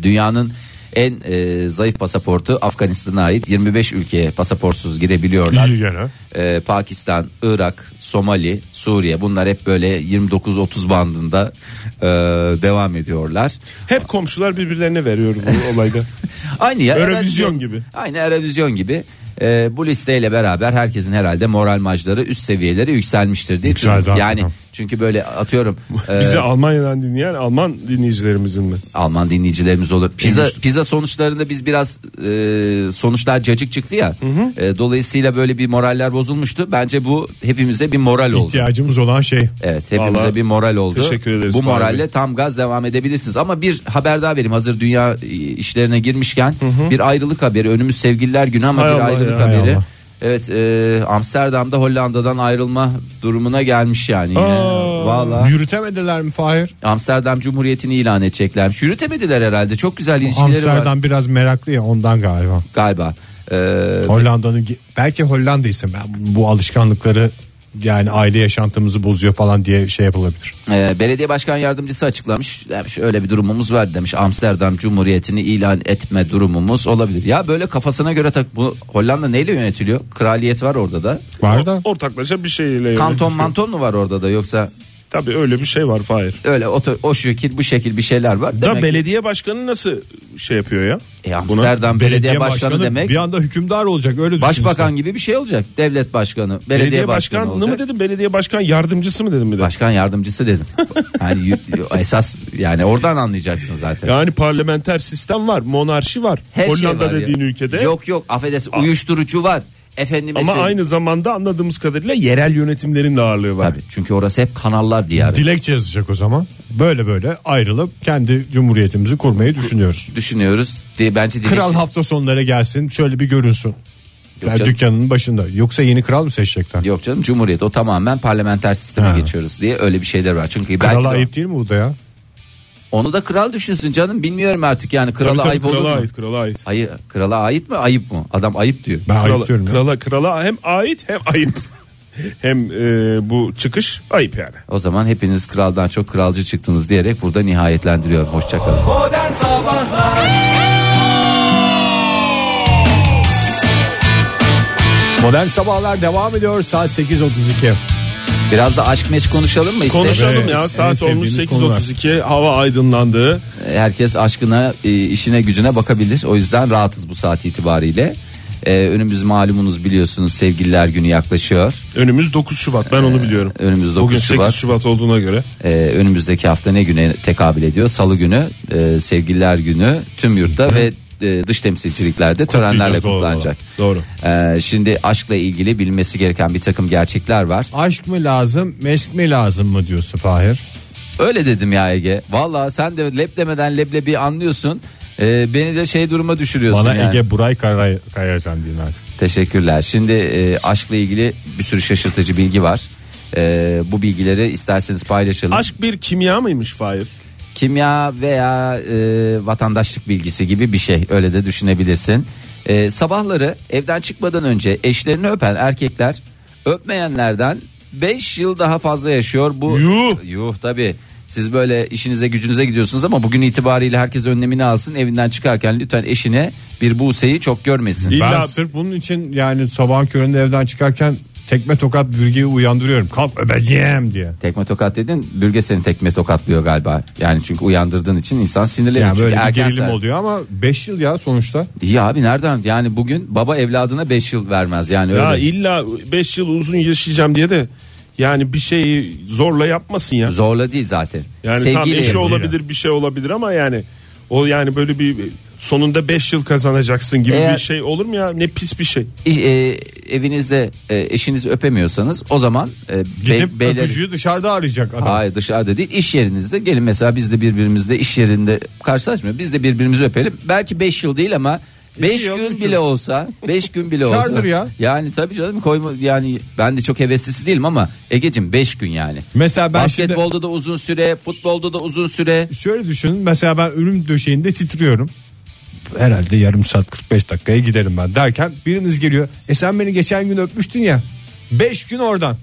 C: dünyanın en e, zayıf pasaportu Afganistan'a ait 25 ülkeye pasaportsuz girebiliyorlar.
B: İyi gene.
C: Ee, Pakistan, Irak, Somali, Suriye bunlar hep böyle 29-30 bandında e, devam ediyorlar.
D: Hep komşular birbirlerine veriyor bu olayda.
C: Aynı ya
D: Eurovizyon
C: Eurovision-
D: gibi.
C: Aynı Eurovision gibi. Ee, bu listeyle beraber herkesin herhalde moral macları üst seviyelere yükselmiştir diye.
B: Yükseldi
C: Çünkü- yani
B: hakikaten.
C: çünkü böyle atıyorum e,
D: Bizi Almanya'dan dinleyen Alman dinleyicilerimizin mi?
C: Alman dinleyicilerimiz olur. Pizza
D: Bilmiştim.
C: pizza sonuçlarında biz biraz e, sonuçlar cacık çıktı ya. E, dolayısıyla böyle bir moraller bozulmuştu. Bence bu hepimize bir moral oldu.
B: İhtiyacımız olan şey.
C: Evet hepimize
D: Vallahi
C: bir moral oldu.
D: teşekkür ederiz
C: Bu
D: Fahri
C: moralle
D: Bey.
C: tam gaz devam edebilirsiniz. Ama bir haber daha vereyim hazır dünya e, işlerine girmişken. Bir ayrılık haberi önümüz sevgililer günü ama
D: Hay
C: bir
D: Allah
C: ayrılık
D: ya,
B: hay
C: haberi.
B: Allah.
C: Evet e, Amsterdam'da Hollanda'dan ayrılma durumuna gelmiş yani yine.
D: Aa.
C: Valla
B: Yürütemediler mi Fahir?
C: Amsterdam Cumhuriyeti'ni ilan edeceklermiş. Yürütemediler herhalde çok güzel ilişkileri var
B: Amsterdam biraz meraklı ya ondan galiba.
C: galiba. E,
B: Hollanda'nın ge- belki Hollanda ise ben bu alışkanlıkları yani aile yaşantımızı bozuyor falan diye şey yapılabilir.
C: Ee, belediye başkan yardımcısı açıklamış. Demiş öyle bir durumumuz var demiş. Amsterdam Cumhuriyeti'ni ilan etme durumumuz olabilir. Ya böyle kafasına göre tak bu Hollanda neyle yönetiliyor? Kraliyet var orada da.
B: Var da
D: Ortaklaşa bir şey şeyle.
C: Kanton
D: yönetiyor.
C: manton mu var orada da yoksa
D: Tabii öyle bir şey var Fahir.
C: öyle o, o şekil bu şekil bir şeyler var.
D: Da
C: Demek ki-
D: belediye başkanı nasıl şey yapıyor ya?
C: E, Amsterdam belediye, başkanı, demek
B: bir anda hükümdar olacak öyle düşün
C: başbakan
B: işte.
C: gibi bir şey olacak. Devlet başkanı, belediye,
D: Belediye
C: başkanı,
D: başkanı
C: olacak.
D: mı dedim belediye başkan yardımcısı mı dedim bir de.
C: Başkan yardımcısı dedim. yani y- y- esas yani oradan anlayacaksın zaten.
D: Yani parlamenter sistem var, monarşi var.
C: Her şey
D: Hollanda
C: var ya.
D: dediğin ülkede.
C: Yok yok affedersin uyuşturucu var. Efendime
D: Ama
C: söyleyeyim.
D: aynı zamanda anladığımız kadarıyla yerel yönetimlerin de ağırlığı var.
C: Tabii çünkü orası hep kanallar diyarı.
B: Dilekçe yazacak o zaman. Böyle böyle ayrılıp kendi cumhuriyetimizi kurmayı düşünüyoruz.
C: Düşünüyoruz. Diye bence dilekçe.
B: Kral hafta sonları gelsin şöyle bir görünsün. Yani
C: canım.
B: dükkanının başında. Yoksa yeni kral mı seçecekler?
C: Yok canım Cumhuriyet o tamamen parlamenter sisteme
B: Ha.
C: geçiyoruz diye öyle bir şeyler var. Çünkü belki de
B: Krala
C: o-
B: ayıp değil mi bu da ya?
C: onu da kral düşünsün canım bilmiyorum artık yani krala
D: Tabii tabii,
C: ayıp
D: krala
C: olur mu?
D: ait, krala ait.
C: Hayır krala ait mi ayıp mı? Adam ayıp diyor.
B: Ben
D: Krala,
B: ayıp diyorum ya.
D: krala, krala hem ait hem ayıp. hem e, bu çıkış ayıp yani.
C: O zaman hepiniz kraldan çok kralcı çıktınız diyerek burada nihayetlendiriyorum. Hoşçakalın.
B: Modern sabahlar devam ediyor saat 8.32.
C: Biraz da aşk meşk konuşalım mı?
D: Konuşalım
B: Evet, en
D: ya saat olmuş
B: sevdiğimiz konular.
D: 8.32 hava aydınlandı.
C: herkes aşkına e, işine gücüne bakabilir. O yüzden rahatız bu saat itibariyle. E, önümüz malumunuz biliyorsunuz sevgililer günü yaklaşıyor.
D: Önümüz 9 Şubat ben onu biliyorum.
C: önümüz 9
D: Bugün 8
C: Şubat.
D: Şubat olduğuna göre.
C: E, önümüzdeki hafta ne güne tekabül ediyor? Salı günü e, sevgililer günü tüm yurtta ve e, dış temsilciliklerde törenlerle
B: doğal olarak.
C: kutlanacak.
D: Doğru.
C: E, şimdi aşkla ilgili bilmesi gereken bir takım gerçekler var.
B: Aşk mı lazım, meşk mi lazım mı diyorsun Fahir?
C: Öyle dedim ya Ege. Valla sen de lep demeden leblebi anlıyorsun. Ee, beni de şey duruma düşürüyorsun
B: Bana
C: yani.
B: Ege Buray Karay, Kayacan diyeyim artık.
C: Teşekkürler. Şimdi e, aşkla ilgili bir sürü şaşırtıcı bilgi var. E, bu bilgileri isterseniz paylaşalım.
D: Aşk bir kimya mıymış Fahir?
C: Kimya veya e, vatandaşlık bilgisi gibi bir şey öyle de düşünebilirsin. E, sabahları evden çıkmadan önce eşlerini öpen erkekler öpmeyenlerden 5 yıl daha fazla yaşıyor. Bu
D: Yuh!
C: Yuh tabi. Siz böyle işinize gücünüze gidiyorsunuz ama bugün itibariyle herkes önlemini alsın. Evinden çıkarken lütfen eşine bir buseyi çok görmesin.
D: İlla-
B: Ben sırf bunun için yani sabahın köründe evden çıkarken tekme tokat bürgeyi uyandırıyorum. Kalk öbeceğim diye.
C: Tekme tokat dedin bürge seni tekme tokatlıyor galiba. Yani çünkü uyandırdığın için insan sinirleniyor.
B: Yani
C: Çünkü
B: böyle bir
C: erken
B: gerilim
C: saat-
B: oluyor ama 5 yıl ya sonuçta.
C: İyi abi nereden? Yani bugün baba evladına 5 yıl vermez yani öyle.
D: Ya illa 5 yıl uzun yaşayacağım diye de yani bir şeyi zorla yapmasın ya.
C: Zorla değil zaten.
D: Yani tam
C: Sevgiyle
D: eşi
C: yapıyor.
D: olabilir bir şey olabilir ama yani o yani böyle bir sonunda 5 yıl kazanacaksın gibi
C: Eğer-
D: bir şey olur mu ya? Ne pis bir şey.
C: İş- e, evinizde e, eşinizi öpemiyorsanız o zaman e, be-
B: Gidip
C: beyler-
B: öpücüğü dışarıda arayacak adam.
C: Hayır dışarıda değil iş yerinizde gelin mesela biz de birbirimizle iş yerinde karşılaşmıyor. Biz de birbirimizi öpelim. Belki 5 yıl değil ama 5
B: yıl,
C: gün
B: üç
C: bile
B: yıl.
C: olsa 5 gün bile olsa.
B: Kardır ya.
C: Yani tabii canım koyma yani ben de çok heveslisi değilim ama Egeciğim 5 gün yani.
B: Mesela ben şimdi-
C: Basketbolda da uzun süre, futbolda da uzun süre.
B: Şöyle düşünün mesela ben ölüm döşeğinde titriyorum. Herhalde yarım saat 45 dakikaya giderim ben derken biriniz geliyor. E sen beni geçen gün öpmüştün ya. 5 gün oradan.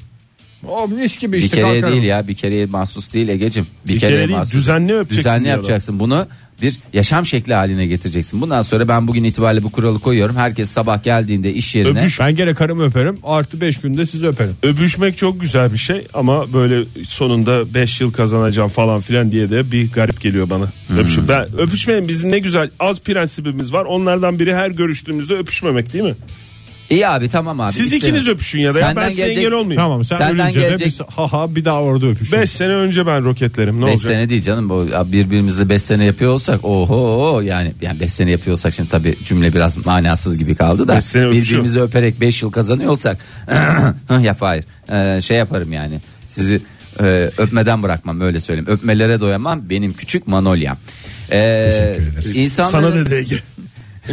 B: O mis gibi işte
C: bir kereye
B: kalkarım.
C: değil ya bir kereye mahsus değil Egecim. Bir,
D: Bir
C: kereye
D: kere değil,
C: mahsus.
D: düzenli öpeceksin
C: Düzenli
D: diyorlar.
C: yapacaksın bunu bir yaşam şekli haline getireceksin. Bundan sonra ben bugün itibariyle bu kuralı koyuyorum. Herkes sabah geldiğinde iş yerine
D: Öpüş-
B: Ben gene karımı öperim artı 5 günde sizi öperim.
D: Öpüşmek çok güzel bir şey ama böyle sonunda 5 yıl kazanacağım falan filan diye de bir garip geliyor bana.
C: Hmm.
D: Öpüş ben, öpüşmeyin bizim ne güzel az prensibimiz var. Onlardan biri her görüştüğümüzde öpüşmemek değil mi?
C: İyi abi tamam abi.
D: Siz
C: İsterim.
D: ikiniz öpüşün ya da ya, ben size engel olmayayım.
B: Tamam sen
C: Senden
B: ölünce de
C: gelecek-
B: biz ha ha bir daha orada öpüşürüz.
D: 5 sene önce ben roketlerim ne
C: Beş
D: olacak?
C: sene değil canım bu ya birbirimizle 5 sene yapıyor olsak oho yani yani 5 sene yapıyor olsak şimdi tabii cümle biraz manasız gibi kaldı da
D: Beş sene öpüşüyor.
C: birbirimizi öperek 5 yıl kazanıyor olsak yap hayır Ee, şey yaparım yani sizi e, öpmeden bırakmam öyle söyleyeyim öpmelere doyamam benim küçük manolyam. Ee, insanların-
D: Sana ne DG?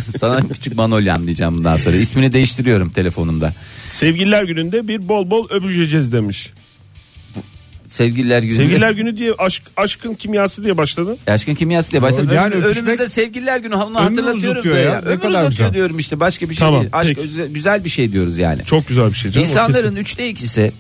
C: sana küçük manolyam diyeceğim bundan sonra ismini değiştiriyorum telefonumda.
D: Sevgililer gününde bir bol bol öpüşeceğiz demiş.
C: Sevgililer günü.
D: Sevgililer günü diye aşk, aşkın kimyası diye başladı.
C: Aşkın kimyası diye başladı.
B: Yani
C: Yani
B: öpüşmek-
C: önümüzde sevgililer günü onu hatırlatıyorum
B: uzatıyor
C: da
B: ya.
C: ya.
B: Ne
C: Ömür
B: kadar
C: uzatıyor
B: güzel.
C: diyorum işte başka bir şey
D: Tamam,
C: değil. Aşk
D: peki.
C: özel- güzel bir şey diyoruz yani.
D: Çok güzel bir şey canım. o
C: İnsanların üçte ikisi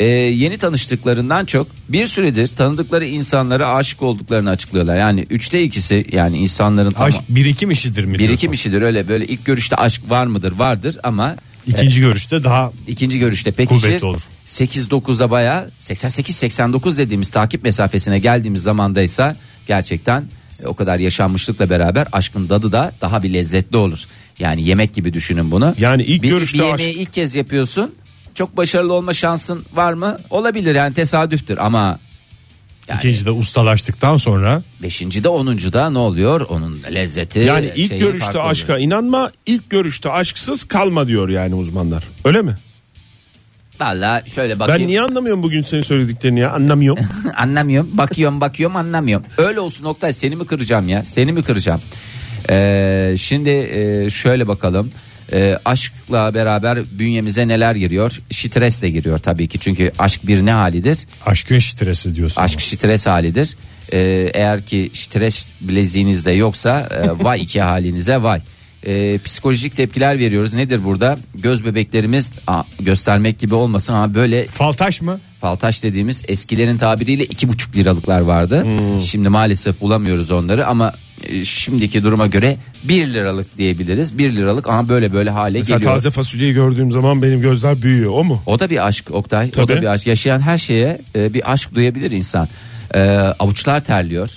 C: e, yeni tanıştıklarından çok bir süredir tanıdıkları insanlara aşık olduklarını açıklıyorlar. Yani üçte ikisi yani insanların tamam,
B: Aşk birikim işidir mi?
C: birikim
B: diyorsun?
C: işidir öyle böyle ilk görüşte aşk var mıdır vardır ama
B: İkinci görüşte daha
C: İkinci görüşte
B: Kuvvetli
C: pekişir.
B: olur.
C: 8-9'da baya 88-89 dediğimiz takip mesafesine geldiğimiz zamandaysa gerçekten e, o kadar yaşanmışlıkla beraber aşkın tadı da daha bir lezzetli olur. Yani yemek gibi düşünün bunu.
D: Yani ilk
C: bir,
D: görüşte
C: bir yemeği
D: aşk-
C: ilk kez yapıyorsun. Çok başarılı olma şansın var mı? Olabilir yani tesadüftür ama
B: ikinci de ustalaştıktan sonra
C: beşincide onuncuda ne oluyor? Onun lezzeti
D: Yani ilk
C: şeyi
D: görüşte
C: farklı oluyor.
D: aşka inanma, ilk görüşte aşksız kalma diyor yani uzmanlar. Öyle mi?
C: Vallahi şöyle
D: Ben
C: bakayım.
D: niye anlamıyorum bugün senin söylediklerini ya? Anlamıyorum.
C: anlamıyorum. Bakıyorum bakıyorum anlamıyorum. Öyle olsun Oktay seni mi kıracağım ya? Seni mi kıracağım? Ee, şimdi e, şöyle bakalım. Ee, aşkla beraber bünyemize neler giriyor? Stres de giriyor tabii ki. Çünkü aşk bir ne halidir?
B: aşkın stresi diyorsun.
C: Aşk stres halidir. Ee, eğer ki stres bileziğinizde yoksa e, vay iki halinize vay. Ee, psikolojik tepkiler veriyoruz. Nedir burada? Göz bebeklerimiz aa, göstermek gibi olmasın ama böyle
B: Faltaş mı?
C: Faltaş dediğimiz eskilerin tabiriyle iki buçuk liralıklar vardı.
D: Hmm.
C: Şimdi maalesef bulamıyoruz onları ama e, şimdiki duruma göre bir liralık diyebiliriz. Bir liralık ama böyle böyle hale
D: Mesela
C: geliyor.
D: taze fasulyeyi gördüğüm zaman benim gözler büyüyor. O mu?
C: O da bir aşk Oktay. O
D: Tabii.
C: da bir aşk. Yaşayan her şeye e, bir aşk duyabilir insan. E, avuçlar terliyor.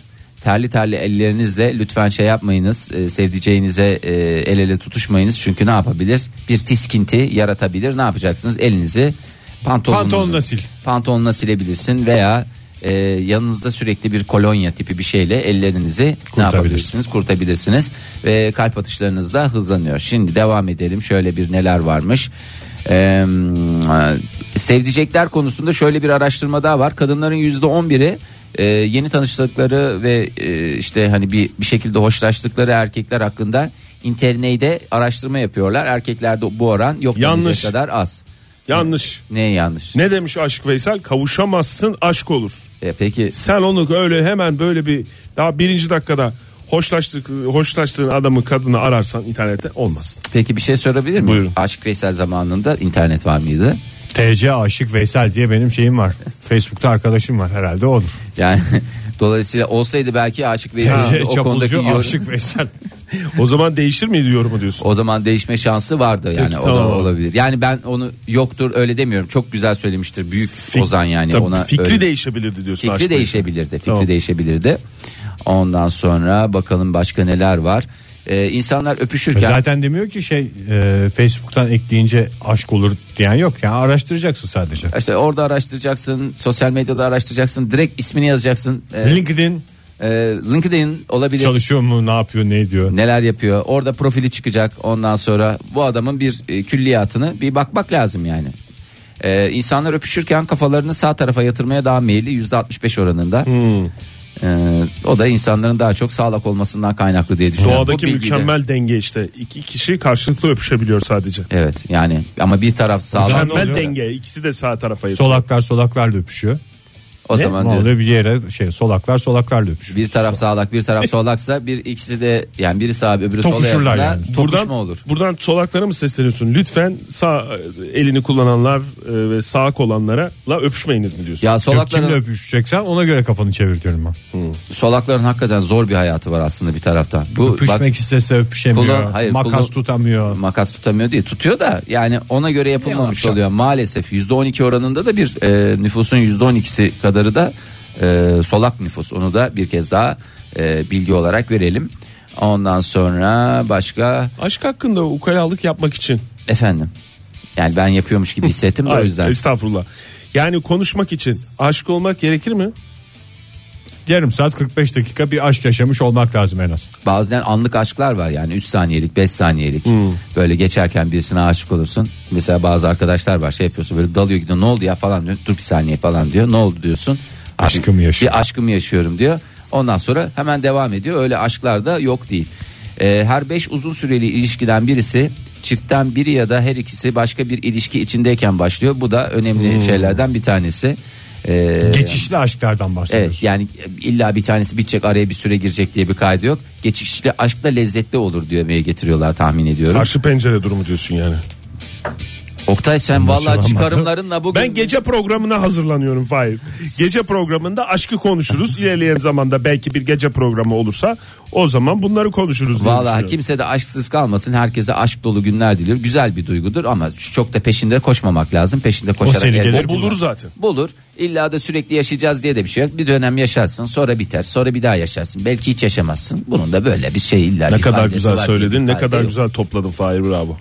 C: Terli terli ellerinizle lütfen şey yapmayınız. E, sevdiceğinize e, el ele tutuşmayınız. Çünkü ne yapabilir? Bir tiskinti yaratabilir. Ne yapacaksınız? Elinizi pantolonunuzu-
B: Pantolonla sil.
C: Pantolonla silebilirsin veya e, yanınızda sürekli bir kolonya tipi bir şeyle ellerinizi ne yapabilirsiniz? Kurtabilirsiniz. Ve kalp atışlarınız da hızlanıyor. Şimdi devam edelim. Şöyle bir neler varmış. Ee, sevdicekler konusunda şöyle bir araştırma daha var. Kadınların %11'i e, yeni tanıştıkları ve e, işte hani bir bir şekilde hoşlaştıkları erkekler hakkında internette araştırma yapıyorlar. Erkeklerde bu oran yok
D: Yanlış.
C: denecek kadar az.
D: Yanlış.
C: Ne yanlış?
D: Ne demiş Aşık Veysel? Kavuşamazsın aşk olur.
C: E, peki
D: Sen onu öyle hemen böyle bir daha birinci dakikada hoşlaştık, hoşlaştığın adamı kadını ararsan internette olmasın.
C: peki bir şey sorabilir miyim?
D: Buyurun.
C: Aşık Veysel zamanında internet var mıydı?
B: TC Aşık Veysel diye benim şeyim var. Facebook'ta arkadaşım var herhalde odur.
C: Yani dolayısıyla olsaydı belki Aşık Veysel'in
D: Şey,
B: TC
C: o konudaki
B: Çapulcu
C: yorum-
B: Aşık Veysel.
D: O zaman değişir miydi yorumu diyorsun?
C: O zaman değişme şansı vardı yani
D: Peki,
C: o
D: tamam.
C: da olabilir. Yani ben onu yoktur öyle demiyorum. Çok güzel söylemiştir büyük Ozan yani
D: Tabii
C: ona.
D: fikri
C: öyle-
D: değişebilirdi diyorsun
C: Fikri
D: Aşık Veysel.
C: değişebilirdi. Fikri
D: Tamam.
C: değişebilirdi. Ondan sonra bakalım başka neler var. Ee, insanlar öpüşürken
B: E Zaten demiyor ki şey e, Facebook'tan ekleyince aşk olur diyen yok. Yani araştıracaksın sadece.
C: işte orada araştıracaksın, sosyal medyada araştıracaksın, direkt ismini yazacaksın. Ee,
B: LinkedIn
C: e, LinkedIn olabilir.
B: çalışıyor mu ne yapıyor ne ediyor.
C: neler yapıyor. Orada profili çıkacak. Ondan sonra bu adamın bir e, külliyatını bir bakmak lazım yani. Ee, insanlar öpüşürken kafalarını sağ tarafa yatırmaya daha meyilli yüzde 65 oranında.
B: Hmm.
C: Ee, o da insanların daha çok sağlak olmasından kaynaklı diye düşünüyorum. Bu
D: Doğadaki
C: bilgi de-
D: mükemmel denge işte. İki kişi karşılıklı öpüşebiliyor sadece.
C: Evet yani ama bir taraf sağlam. O zaman,
D: Mükemmel
B: oluyor?
D: denge. İkisi de sağ tarafa yatıyor.
B: Solaklar solaklarla öpüşüyor. Ne
C: diyor,
B: oluyor bir yere şey solaklar solaklarla öpüşüyor.
C: bir taraf sağlak bir taraf solaksa bir ikisi de yani biri sağ öbürü sola
B: Tokuşurlar
C: yapınca
B: yani.
C: tokuşma
D: Buradan,
C: olur.
D: buradan solaklara mı sesleniyorsun? Lütfen sağ e, elini kullananlar e, ve sağ olanlara la öpüşmeyiniz mi diyorsun?
C: Ya
B: Yok, Kimle
C: solakların
B: öpüşeceksen ona göre kafanı çevir diyorum ben.
C: solakların hakikaten zor bir hayatı var aslında bir taraftan. Bu bak-
B: Öpüşmek istese öpüşemiyor.
C: Kullan- hayır,
B: makas
C: kullan-
B: tutamıyor.
C: makas tutamıyor diye tutuyor da yani ona göre yapılmamış
B: Yapacak.
C: oluyor maalesef %12 oranında da bir e, nüfusun %12'si kadarı da e, solak nüfus onu da bir kez daha e, bilgi olarak verelim ondan sonra başka
D: Aşk hakkında ukalalık yapmak için.
C: efendim yani ben yapıyormuş gibi hissettim de o
D: Ay,
C: yüzden
D: Estağfurullah. Yani konuşmak için aşık olmak gerekir mi?
B: Yarım saat 45 dakika bir aşk yaşamış olmak lazım en az.
C: bazen anlık aşklar var yani 3 saniyelik 5 saniyelik
B: Hmm.
C: böyle geçerken birisine aşık olursun mesela bazı arkadaşlar var şey yapıyorsun böyle dalıyor gidiyor ne oldu ya falan diyor dur bir saniye falan diyor ne oldu diyorsun
B: Aşkımı yaşıyorum.
C: bir aşkımı yaşıyorum diyor ondan sonra hemen devam ediyor öyle aşklar da yok değil Ee, her 5 uzun süreli ilişkiden birisi çiftten biri ya da her ikisi başka bir ilişki içindeyken başlıyor bu da önemli
B: Hmm.
C: şeylerden bir tanesi Ee,
B: Geçişli aşklardan bahsediyoruz.
C: Evet yani e, illa bir tanesi bitecek araya bir süre girecek diye bir kaydı yok. Geçişli aşk da lezzetli olur diye meye getiriyorlar tahmin ediyorum.
D: Karşı pencere durumu diyorsun yani.
C: Oktay sen vallahi
B: olamadı.
C: çıkarımlarınla bugün
D: Ben gece programına hazırlanıyorum Fahir. Gece programında aşkı konuşuruz. İlerleyen zamanda belki bir gece programı olursa o zaman bunları konuşuruz. diye
C: Vallahi
D: düşünüyorum.
C: kimse de aşksız kalmasın. Herkese aşk dolu günler diliyorum. Güzel bir duygudur ama çok da peşinde koşmamak lazım. Peşinde koşarak
B: seni
C: elde-
B: gelir
D: O bulur zaten.
C: bulur. İlla da sürekli yaşayacağız diye de bir şey yok. Bir dönem yaşarsın, sonra biter, sonra bir daha yaşarsın. Belki hiç yaşamazsın. Bunun da böyle bir şey illa
D: Ne
C: bir
D: kadar
C: faydası
D: güzel
C: var,
D: söyledin,
C: bir
D: ne
C: fayda
D: kadar
C: yok.
D: güzel topladın Fahir bravo.